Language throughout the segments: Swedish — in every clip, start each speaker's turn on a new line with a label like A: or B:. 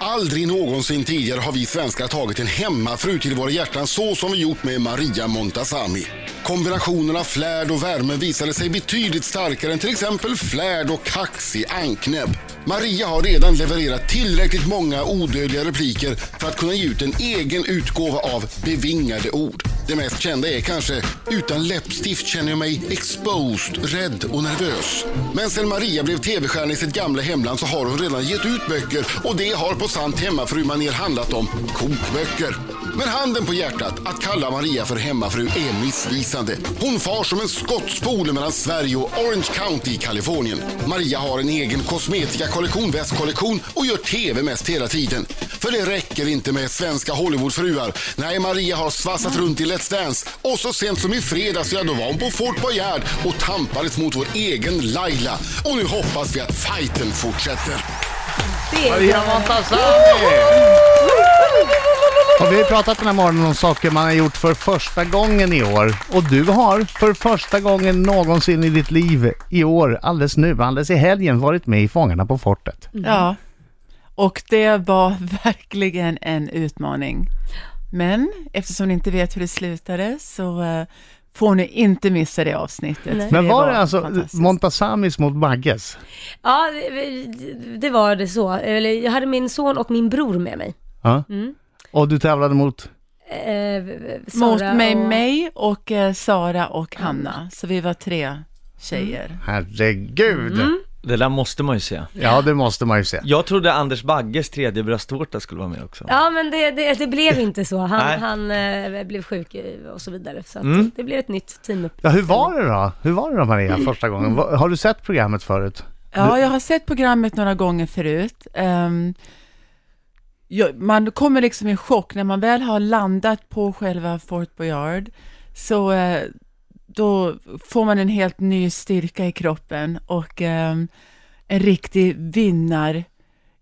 A: Aldrig någonsin tidigare har vi svenskar tagit en hemmafru till våra hjärtan så som vi gjort med Maria Montazami. Kombinationen av flärd och värme visade sig betydligt starkare än till exempel flärd och kaxig anknäbb. Maria har redan levererat tillräckligt många odödliga repliker för att kunna ge ut en egen utgåva av bevingade ord. Det mest kända är kanske “Utan läppstift känner jag mig exposed, rädd och nervös”. Men sen Maria blev tv-stjärna i sitt gamla hemland så har hon redan gett ut böcker och det har på sant hemmafrumanér handlat om kokböcker. Men handen på hjärtat, att kalla Maria för hemmafru är missvisande. Hon far som en skottspole mellan Sverige och Orange County i Kalifornien. Maria har en egen kosmetikakollektion, västkollektion och gör TV mest hela tiden. För det räcker inte med svenska Hollywoodfruar. Nej, Maria har svassat runt i Let's Dance och så sent som i fredags, ja då var hon på Fort Boyard och tampades mot vår egen Laila. Och nu hoppas vi att fighten fortsätter.
B: Det är
C: Maria
B: bra.
C: Montazami! Och vi har pratat den här morgonen om saker man har gjort för första gången i år. Och du har för första gången någonsin i ditt liv i år, alldeles nu, alldeles i helgen, varit med i Fångarna på fortet.
B: Mm.
D: Ja, och det var verkligen en utmaning. Men eftersom ni inte vet hur det slutade så eh, får ni inte missa det avsnittet.
B: Nej.
D: för
C: Men var det alltså
D: fantastiskt.
C: Montazamis mot Bagges?
B: Ja, det- det var det så. Eller, Jag hade min son och min bror med mig.
C: Ja. Och du tävlade mot?
B: Eh, Sara
D: Mot mig,
B: och-
D: mig och eh, Sara och Hanna. Så vi var
B: Mm.
D: tre tjejer.
C: Herregud!
E: Det där måste man ju se.
C: Ja, det måste man ju se.
E: Jag trodde Anders Bagges tredje bröstvårta skulle vara med också.
B: Ja, men det, det, det blev inte så.
E: Nej.
B: Han, han eh, blev sjuk eh, och så vidare. Så att det blev ett nytt team upp.
C: Mm. Ja, hur var det då? Hur var det då Maria, första gången? Va- Har du sett programmet förut?
D: Ja, jag har sett programmet några gånger förut. Ehm, ja, man kommer liksom i chock när man väl har landat på själva Fort Boyard. Så eh, då får man en helt ny styrka i kroppen och ehm, en riktig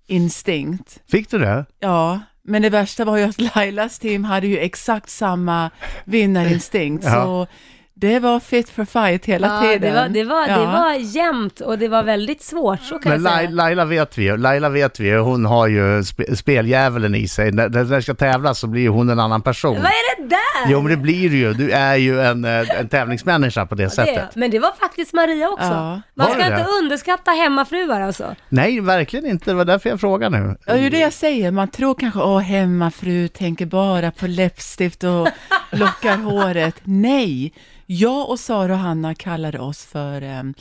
D: vinnarinstinkt.
C: Fick du det?
D: Ja, men det värsta var ju att Lailas team hade ju exakt samma vinnarinstinkt.
C: Ja.
D: Så det var fit for fight hela
B: Ja,
D: tiden.
B: det, var, det, var, det
D: Ja.
B: var jämnt och det var väldigt svårt, så kan
C: Men
B: jag
C: Lai-
B: säga.
C: Laila vet vi ju, Laila vet vi ju, hon har ju spe, speldjävulen i sig. När, när det ska tävlas så blir ju hon en annan person.
B: Vad är det där?
C: Jo men det blir du ju, du är ju en, eh, en tävlingsmänniska på det
B: det,
C: sättet.
B: är- men det var faktiskt Maria också.
D: Ja.
B: Man
C: Var
B: ska
C: det
B: inte
C: det?
B: underskatta hemmafruar alltså.
C: Nej, verkligen inte, det var därför jag frågar nu.
D: Ja, det är ju det jag säger. Man tror kanske, åh, hemmafru tänker bara på läppstift och lockar håret. Nej, jag och Sara och Hanna kallade oss för em,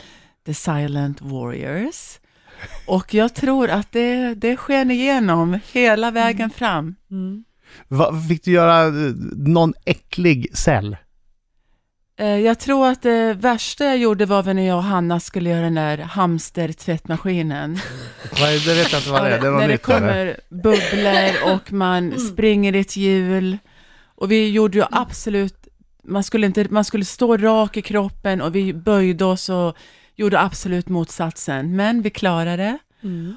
D: The Silent Warriors. Och jag tror att det, det sken igenom hela vägen fram.
C: Va, fick du göra eh, någon äcklig cell?
D: Eh, Jag tror att det värsta jag gjorde var väl när jag och Hanna skulle göra den där hamstertvättmaskinen.
C: Vad är- Det vet jag inte vad det är, det var
D: när det
C: nytt. eller?
D: kommer bubblor och man springer i ett hjul. Och vi gjorde ju absolut, man skulle, inte, man skulle stå rak i kroppen och vi böjde oss och gjorde absolut motsatsen. Men vi klarade det.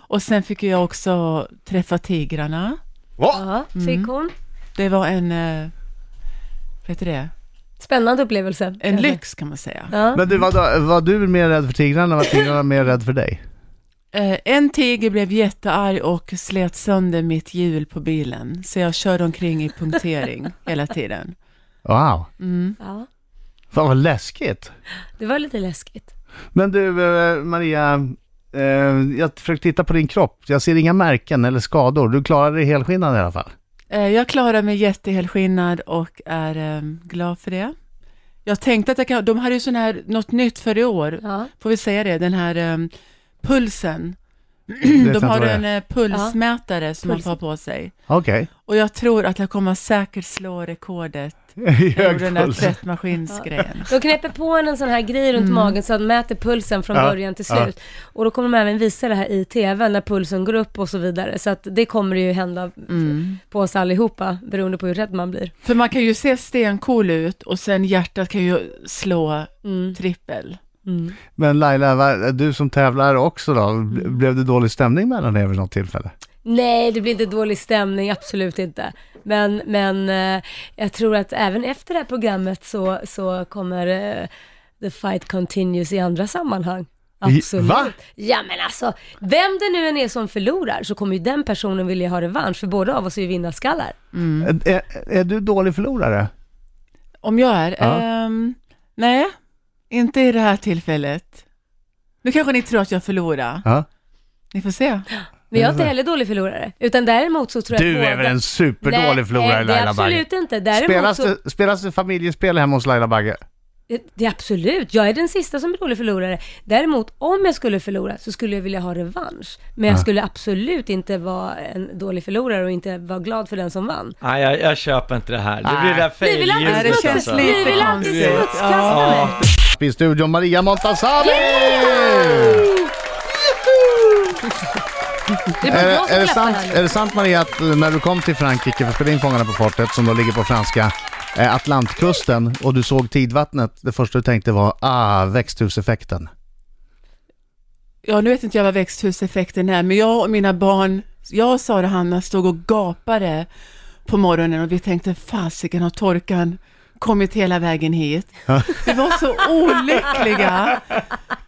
D: Och sen fick jag också träffa tigrarna.
C: Va?
B: Ja,
D: Mm.
B: fick hon.
D: Det var en, eh, vad heter det,
B: Spännande upplevelse.
D: en
B: kanske.
D: lyx kan man säga.
B: Ja.
C: Men du, var, var du mer rädd för tigrarna eller var tigrarna mer rädd för dig?
D: Eh, En tiger blev jättearg och slet sönder mitt hjul på bilen, så jag körde omkring i punktering hela tiden.
C: Wow,
B: Ja.
C: fan vad läskigt.
B: Det var lite läskigt.
C: Men du eh, Maria, eh, jag försöker titta på din kropp. Jag ser inga märken eller skador. Du klarade dig helskinnad i alla fall.
D: Eh, Jag klarade mig jättehelskinnad och är eh, glad för det. Jag tänkte att jag kan, de hade ju sån här, något nytt för i år,
B: Ja.
D: får vi säga det, den här eh, pulsen.
C: vet
D: De
C: inte
D: har
C: vad det är.
D: en eh, pulsmätare som man
B: Puls.
D: får ha på sig.
C: Okej.
D: Och jag tror att jag kommer säkert slå rekordet
C: Okay.
D: på den där tvättmaskinsgrejen.
B: De knäpper på en, en sån här grej runt magen så att de mäter pulsen från
C: Mm. Ja,
B: början till slut. Och då kommer de även visa det här i TV när pulsen går upp och så vidare. Så att det kommer ju hända
C: Mm.
B: på oss allihopa beroende på hur rädd man blir.
D: För man kan ju se stencool ut och sen hjärtat kan ju slå
B: Mm.
D: trippel.
C: Men Laila, va- du som tävlar också då, bl-
B: Mm.
C: blev det dålig stämning mellan er vid något tillfälle?
B: Nej, det blir inte dålig stämning, absolut inte. Men, men eh, jag tror att även efter det här programmet så, så kommer eh, the fight continues i andra sammanhang. Absolut.
C: Va?
B: Ja men alltså, vem det nu än är som förlorar så kommer ju den personen vilja ha revansch, för båda av oss är ju vinnarskallar. Mm.
C: Är, är- är du dålig förlorare?
D: Om jag är?
C: Ja.
D: Ehm, nej, inte i det här tillfället. Nu kanske ni tror att jag förlorar.
C: Ja.
D: Ni får se.
B: Men jag är inte heller dålig förlorare, utan däremot så tror jag
C: Du
B: att
C: är väl en superdålig förlorare
B: Nej, det är
C: Laila Bagge?
B: absolut inte. Däremot
C: Spelas,
B: så,
C: det, spelas det familjespel hemma hos Laila Bagge?
B: Eh, det är absolut, jag är den sista som är dålig förlorare. Däremot om jag skulle förlora så skulle jag vilja ha revansch. Men jag skulle absolut inte vara en dålig förlorare och inte vara glad för den som vann.
E: Nej, jag, jag köper inte det här. Det blir det där
B: Ni vill alltid
D: Nej, det
E: fejlljudet
D: känns
E: alltså.
D: lite
B: Ni vill alltid
D: konstigt.
B: smutskasta mig.
E: Ja.
C: I studion Maria Montazami!
B: Det är
C: Är,
B: bara jag
C: det-
B: som
C: är, det
B: klappar
C: sant,
B: här nu.
C: är det sant Maria att eh, när du kom till Frankrike för att spela in Fångarna på fortet som då ligger på franska eh, Atlantkusten och du såg tidvattnet, det första du tänkte var ah, växthuseffekten.
D: Ja, nu vet inte jag vad växthuseffekten är, men jag och mina barn, jag och Sara och Hanna stod och gapade på morgonen och vi tänkte fasiken har torkan kommit hela vägen hit. Vi var så olyckliga.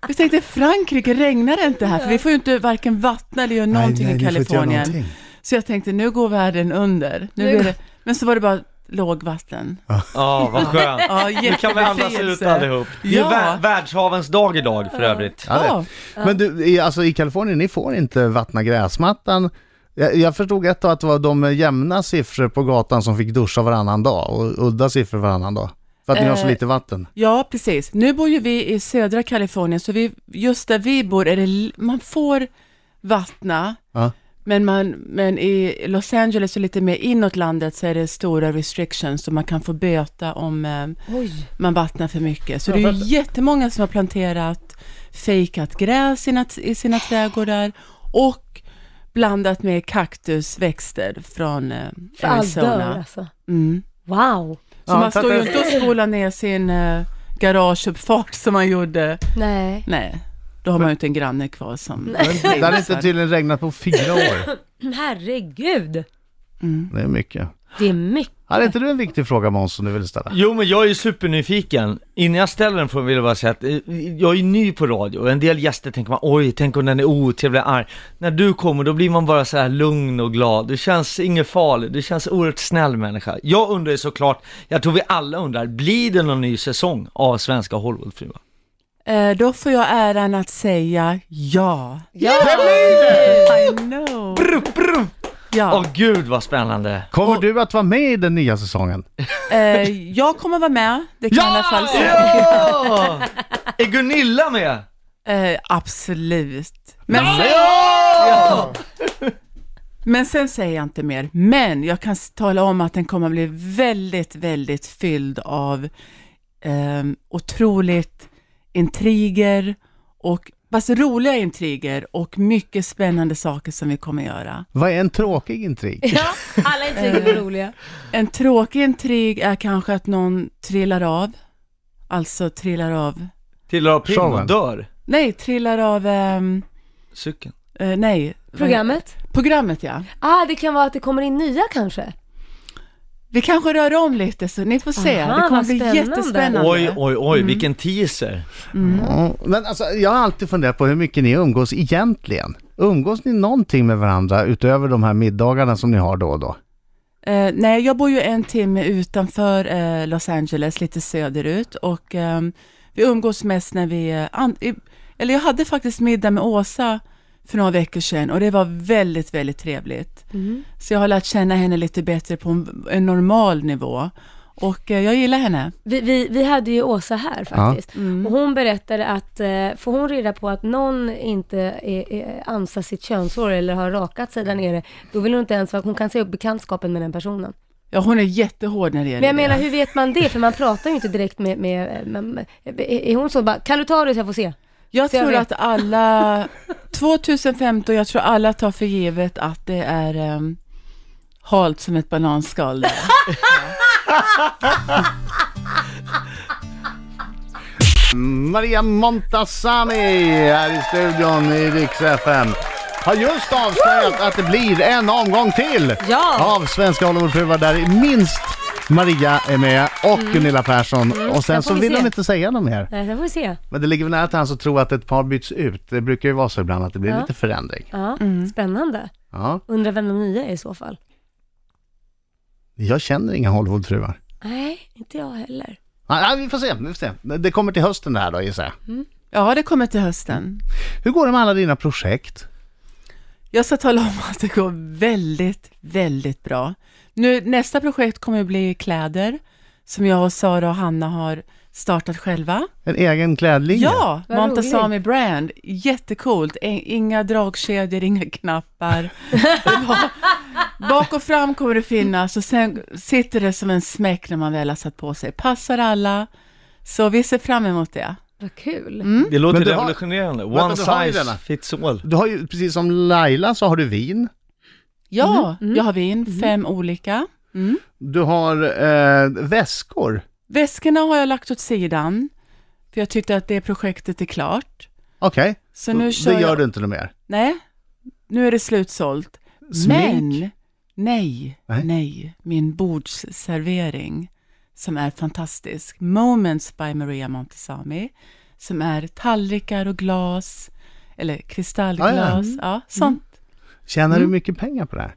D: Vi tänkte Frankrike regnar det inte här, för vi får ju inte varken vattna eller göra någonting i Kalifornien. Så jag tänkte nu går världen under. Nu
B: Nu-
D: är det... Men så var det bara lågvatten.
E: Ja, vad skönt.
D: Ja,
E: Nu kan vi andas ut
D: jättebefrielse.
E: allihop. Det är
D: Ja.
E: vär- världshavens dag idag för övrigt.
C: Ja, det.
D: Ja.
C: Men du, i- alltså i Kalifornien, ni får inte vattna gräsmattan. Jag, jag förstod ett tag att det var de med jämna siffror på gatan som fick duscha varannan dag och udda siffror varannan dag. För att ni har så
D: Eh,
C: lite vatten.
D: Ja, precis. Nu bor ju vi i södra Kalifornien, så vi, just där vi bor är det, l- man får vattna,
C: Ja.
D: men, man, men i Los Angeles och lite mer inåt landet så är det stora restrictions, så man kan få böta om eh,
B: Oj.
D: man vattnar för mycket. Så det är ju jättemånga som har planterat fejkat gräs sina, i sina trädgårdar och blandat med kaktusväxter från eh,
B: För all dör
D: Arizona.
B: alltså.
D: Mm.
B: Wow.
D: Så
C: Ja,
D: man
C: för att
D: står ju
C: det-
D: inte och spolar ner sin eh, garageuppfart som man gjorde.
B: Nej.
D: Nej, då har man ju inte en granne kvar som...
C: Det hade inte tydligen regnat på fyra år.
B: Herregud.
C: Det är mycket.
B: Det är mycket.
C: Hade inte du en viktig fråga Måns som du ville ställa?
E: Jo men jag är ju supernyfiken. Innan jag ställer den får vill jag bara säga att eh, jag är ny på radio och en del gäster tänker man oj, tänk om den är otrevlig, arg. När du kommer då blir man bara så här lugn och glad. Du känns ingen farlig, du känns oerhört snäll människa. Jag undrar ju såklart, jag tror vi alla undrar, blir det någon ny säsong av Svenska Hollywoodfruar?
D: Eh, då får jag äran att säga ja.
B: Ja.
D: I know.
E: Åh
D: Ja,
E: gud vad spännande!
C: Kommer du att vara med i den nya säsongen?
D: eh, jag kommer vara med, det kan jag i alla fall säga.
E: Ja! Är Gunilla med?
D: Eh, absolut. Men sen,
E: Ja!
D: men sen säger jag inte mer. Men jag kan s- tala om att den kommer bli väldigt, väldigt fylld av eh, otroligt intriger och, fast roliga intriger och mycket spännande saker som vi kommer göra.
C: Vad är en tråkig intrig?
B: ja. Alla intriger är roliga.
D: En tråkig intrig är kanske att någon trillar av. Alltså trillar av...
E: Till och med
C: Showen.
E: och dör.
D: Nej, trillar av... ehm,
E: Cykeln.
D: eh, nej.
B: Programmet.
D: Programmet, ja.
B: Ah, det kan vara att det kommer in nya kanske.
D: Vi kanske rör om lite, så ni får se.
B: Aha,
D: det kommer
B: vad
D: bli
B: spännande.
D: jättespännande.
E: Oj, oj, oj,
D: Mm.
E: vilken teaser.
B: Mm.
C: Ja, Men alltså, jag har alltid funderat på hur mycket ni umgås egentligen. Umgås ni någonting med varandra utöver de här middagarna som ni har då och då?
D: Eh, nej, jag bor ju en timme utanför eh, Los Angeles, lite söderut. Och ehm, vi umgås mest när vi... eh, an- i, eller jag hade faktiskt middag med Åsa för några veckor sedan och det var väldigt, väldigt trevligt.
B: Mm.
D: Så jag har lärt känna henne lite bättre på en, en normal nivå. Och eh, jag gillar henne.
B: Vi, vi, vi hade ju Åsa här faktiskt. Och hon berättade att, eh, får hon reda på att någon inte är, är, ansar sitt könshår eller har rakat sig där nere, då vill hon inte ens vara, hon kan säga upp bekantskapen med den personen.
D: Ja, hon är jättehård när det gäller
B: Men jag
D: det.
B: menar, hur vet man det? För man pratar ju inte direkt med, med, med, med är är hon så bara, kan du ta det så jag får se?
D: Jag
B: Så jag
D: tror
B: vet.
D: att alla, 2015, jag tror alla tar för givet att det är um, halt som ett bananskal där.
C: Maria Montazami här i studion i Rix FM har just avslöjat att det blir en omgång till
B: Ja.
C: av Svenska Hollywoodfruar där minst Maria är med och Gunilla Persson. Och sen
B: Mm. sen
C: så
B: får vi
C: vill
B: se.
C: de inte säga något mer.
B: Nej, sen får vi se.
C: Men det ligger väl nära till hans att tro att ett par byts ut. Det brukar ju vara så ibland att det blir
B: Ja.
C: lite förändring.
B: Ja, spännande.
C: Ja.
B: Undrar vem de nya är i så fall.
C: Jag känner inga Hollywoodfruar.
B: Nej, inte jag heller.
C: Ja, ja, vi får se, vi får se. Det kommer till hösten det här då gissar jag.
D: Mm. Ja, det kommer till hösten.
C: Hur går det med alla dina projekt?
D: Jag ska tala om att det går väldigt, väldigt bra. Nu, nästa projekt kommer att bli kläder, som jag och Sara och Hanna har startat själva.
C: En egen klädlinje?
D: Ja,
B: Vad
D: Montazami Brand. Jättecoolt. I- Inga dragkedjor, inga knappar. Det var- Bak och fram kommer det finnas och sen sitter det som en smäck när man väl har satt på sig. Passar alla. Så vi ser fram emot det.
B: Vad kul.
D: Mm.
E: Det låter
C: Men du har-
E: revolutionerande.
C: Vänta,
E: One
C: du har ju denna.
E: size fits all.
C: Du har ju, precis som Laila så har du vin.
D: Ja, jag har vin, fem olika.
C: Du har eh, väskor.
D: Väskorna har jag lagt åt sidan, för jag tyckte att det projektet är klart.
C: Okej,
D: Så nu
C: Mm, det
D: kör
C: gör
D: jag...
C: du inte något mer.
D: Nej, nu är det slutsålt.
C: Smink?
D: Men, nej,
C: Nej.
D: nej, min bordsservering som är fantastisk. Moments by Maria Montesami, som är tallrikar och glas, eller
C: Ah,
D: kristallglas, ja,
C: Mm.
D: sånt.
C: Tjänar
D: Mm.
C: du mycket pengar på det här?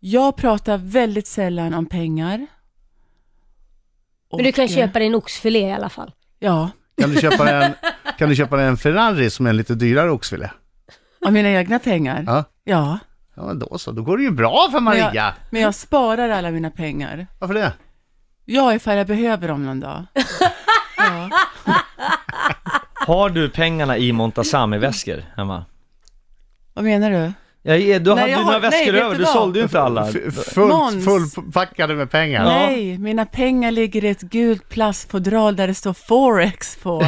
D: Jag pratar väldigt sällan om pengar.
B: Men du kan
D: Och, eh,
B: köpa din oxfilé i alla fall.
D: Ja,
C: Kan du köpa en, kan du köpa en Ferrari som är en lite dyrare oxfilé?
D: av mina egna pengar.
C: Ja.
D: ja.
C: Ja, men då så. Då går det ju bra för Maria.
D: Men jag, men jag sparar alla mina pengar.
C: Varför det?
D: Jag ifall jag behöver dem någon dag. Ja.
E: Har du pengarna i Montazami-väskor hemma?
D: Vad menar du?
E: Ja, ja, du hade
D: jag
E: några
D: har- nej,
E: väskor
D: vet
E: över,
D: du
E: du
D: vad?
E: sålde ju inte alla.
C: F- fullt,
D: Måns.
C: fullpackade med pengar.
E: Ja.
D: Nej, mina pengar ligger i ett gult plastfodral där det står Forex på.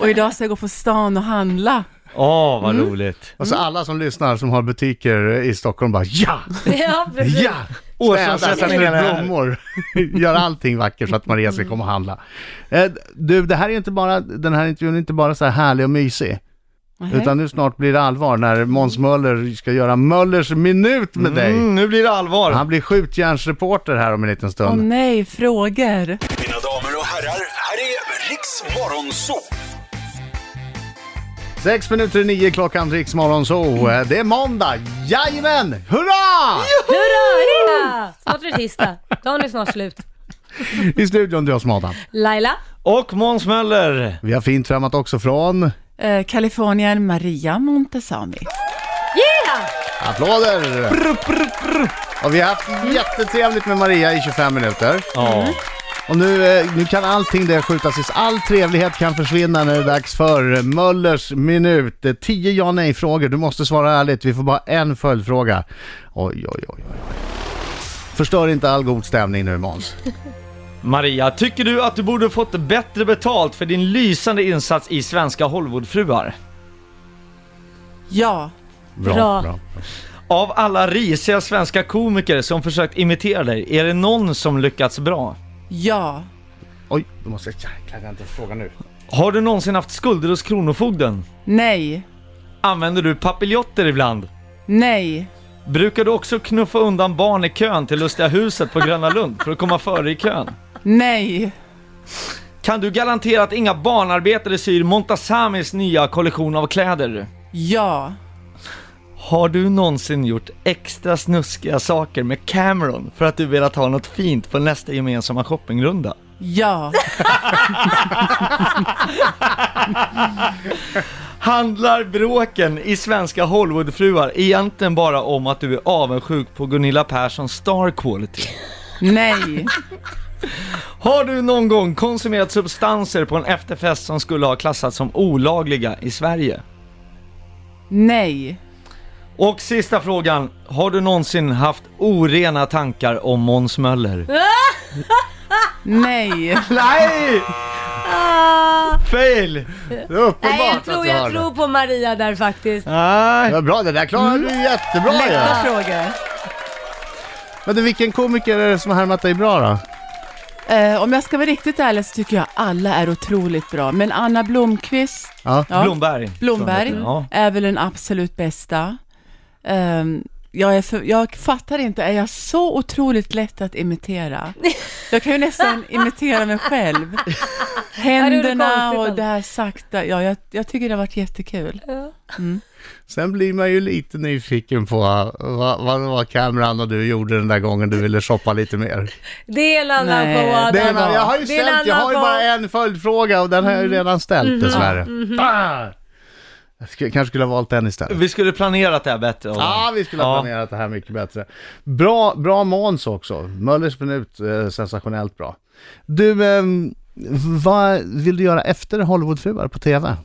D: Och idag ska jag gå på stan och handla.
E: Åh, vad
D: Mm.
E: roligt.
C: Och så alla som lyssnar som har butiker i Stockholm bara ja,
B: ja, precis.
C: ja!
E: Åsa,
C: Städar,
E: sätter
C: sätter
E: den
C: ut
E: här.
C: blommor, gör allting vackert så att Maria ska komma och handla. Eh, Du, det här är inte bara, den här intervjun är inte bara så här härlig och mysig,
D: Nähä.
C: utan nu snart blir det allvar när Måns Möller ska göra Möllers minut med dig.
E: Mm, nu blir det allvar.
C: Han blir skjutjärnsreporter här om en liten
D: Åh
C: stund.
D: nej, frågor.
F: Mina damer och herrar, här är Riks Morgonzoo!
C: Sex minuter i nio klockan, Riks Morgonzoo. Eh, Det är måndag, jajamän! Hurra!
B: Hurra, hurra! Snart är det tisdag. Dagen är snart slut.
C: I studion du och Smadan.
B: Laila,
E: Och Måns Möller.
C: Vi har fint främmat också från
D: Eh, Kalifornien, Maria Montesami.
B: yeah!
C: Applåder! Och vi har haft jättetrevligt med Maria i 25 minuter.
E: Ja.
D: Mm.
C: Och nu, eh, nu kan allting det skjutas is. All trevlighet kan försvinna när det är dags för Möllers minut. Eh, 10 ja nej frågor. Du måste svara ärligt. Vi får bara en följdfråga. Oj, oj, oj, oj. Förstör inte all god stämning nu Måns.
E: Maria, tycker du att du borde fått bättre betalt för din lysande insats i Svenska Hollywoodfruar?
D: Ja,
B: Bra.
E: Av alla risiga svenska komiker som försökt imitera dig, är det någon som lyckats bra?
D: ja,
C: Oj, då måste jag... Jäklar, jag inte fråga nu.
E: Har du någonsin haft skulder hos Kronofogden?
D: nej,
E: Använder du papiljotter ibland?
D: nej,
E: Brukar du också knuffa undan barn i kön till Lustiga huset på Gröna Lund för att komma före i kön?
D: nej,
E: Kan du garantera att inga barnarbetare syr Montazamis nya kollektion av kläder?
D: ja,
E: Har du någonsin gjort extra snuskiga saker med Cameron för att du velat ha något fint på nästa gemensamma shoppingrunda?
D: ja,
E: Handlar bråken i svenska Hollywoodfruar egentligen bara om att du är avundsjuk på Gunilla Perssons star quality?
D: nej,
E: Har du någon gång konsumerat substanser på en efterfest som skulle ha klassats som olagliga i Sverige?
D: nej,
E: Och sista frågan, har du någonsin haft orena tankar om Måns Möller?
D: nej.
E: Nej!
B: Ah,
E: Fail!
C: Det är uppenbart
B: nej, jag
C: att
B: tror,
C: du har
B: jag
C: det.
B: tror på Maria där faktiskt.
E: Nej.
C: Ja, bra, det där klarade du jättebra ju.
D: Lätta frågor.
C: Men du, vilken komiker är det som har härmat dig bra då?
D: Eh, om jag ska vara riktigt ärlig så tycker jag alla är otroligt bra, men Anna Blomqvist
C: Ja.
D: ja,
E: Blomberg.
D: Blomberg
E: Ja.
D: är väl den absolut bästa. Ehm, jag, är för, jag fattar inte, är jag så otroligt lätt att imitera? Jag kan ju nästan imitera mig själv. Händerna
B: konstigt,
D: och
B: alltså.
D: det här sakta. Ja, jag, jag tycker det har varit jättekul.
C: Sen blir man ju lite nyfiken på eh, vad, vad det var Cameron och du gjorde den där gången du ville shoppa lite mer.
B: Det är en annan
D: Nej.
B: show, Adam.
C: Det är, en- jag har ju
B: Det är en
C: ställt, jag
B: annan Mm.
C: har ju bara
B: show.
C: en följdfråga och den har jag ju redan ställt dessvärre.
B: mm-hmm.
C: Bah! Jag skulle, kanske skulle ha valt den istället.
E: Vi skulle planerat det här bättre. Adam.
C: Ja, vi skulle ha
E: Ja.
C: planerat det här mycket bättre. Bra, bra Måns också. Möllers minut, eh, sensationellt bra. Du, eh, vad vill du göra efter Hollywoodfruar på TV?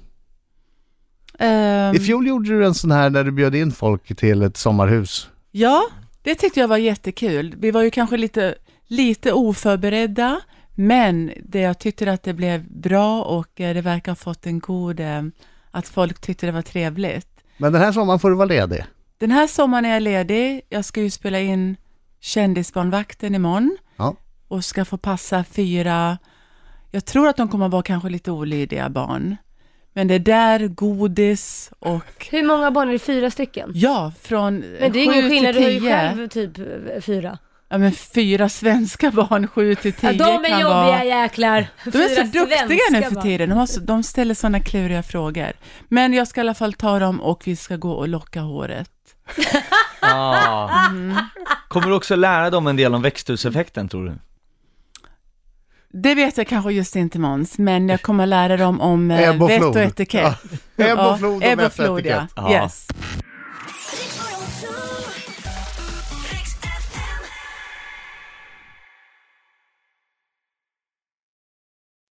D: Ehm,
C: I fjol gjorde du en sån här där du bjöd in folk till ett sommarhus.
D: Ja, det tyckte jag var jättekul. Vi var ju kanske lite, lite oförberedda, men det jag tyckte att det blev bra och eh, det verkar ha fått en god, eh, att folk tyckte det var trevligt.
C: Men den här sommaren får du vara ledig.
D: Den här sommaren är jag ledig. Jag ska ju spela in Kändisbarnvakten imorgon
C: Ja.
D: och ska få passa fyra, jag tror att de kommer att vara kanske lite olydiga barn. Men det är där godis och,
B: Hur många barn är det? Fyra stycken?
D: ja, från eh,
B: Men det är
D: sju
B: ingen skillnad,
D: till
B: du har ju
D: tio.
B: själv typ eh, fyra.
D: Ja men fyra svenska barn, sju till
B: Ja,
D: tio
B: de är
D: kan
B: jobbiga
D: vara...
B: jäklar.
D: De är så
B: Fyra
D: duktiga
B: svenska
D: nu för
B: barn.
D: tiden, de, har så, de ställer sådana kluriga frågor. Men jag ska i alla fall ta dem och vi ska gå och locka håret.
E: Ja. Kommer du också lära dem en del om växthuseffekten tror du?
D: Det vet jag kanske just inte Måns, men jag kommer lära dem om
C: Ebb
D: eh,
C: och
D: vett
C: flod.
D: och etikett.
C: Ebb och
D: Ja,
C: flod och
D: ebb
C: vett och
D: flod, ja.
C: etikett.
E: Ja.
D: Yes.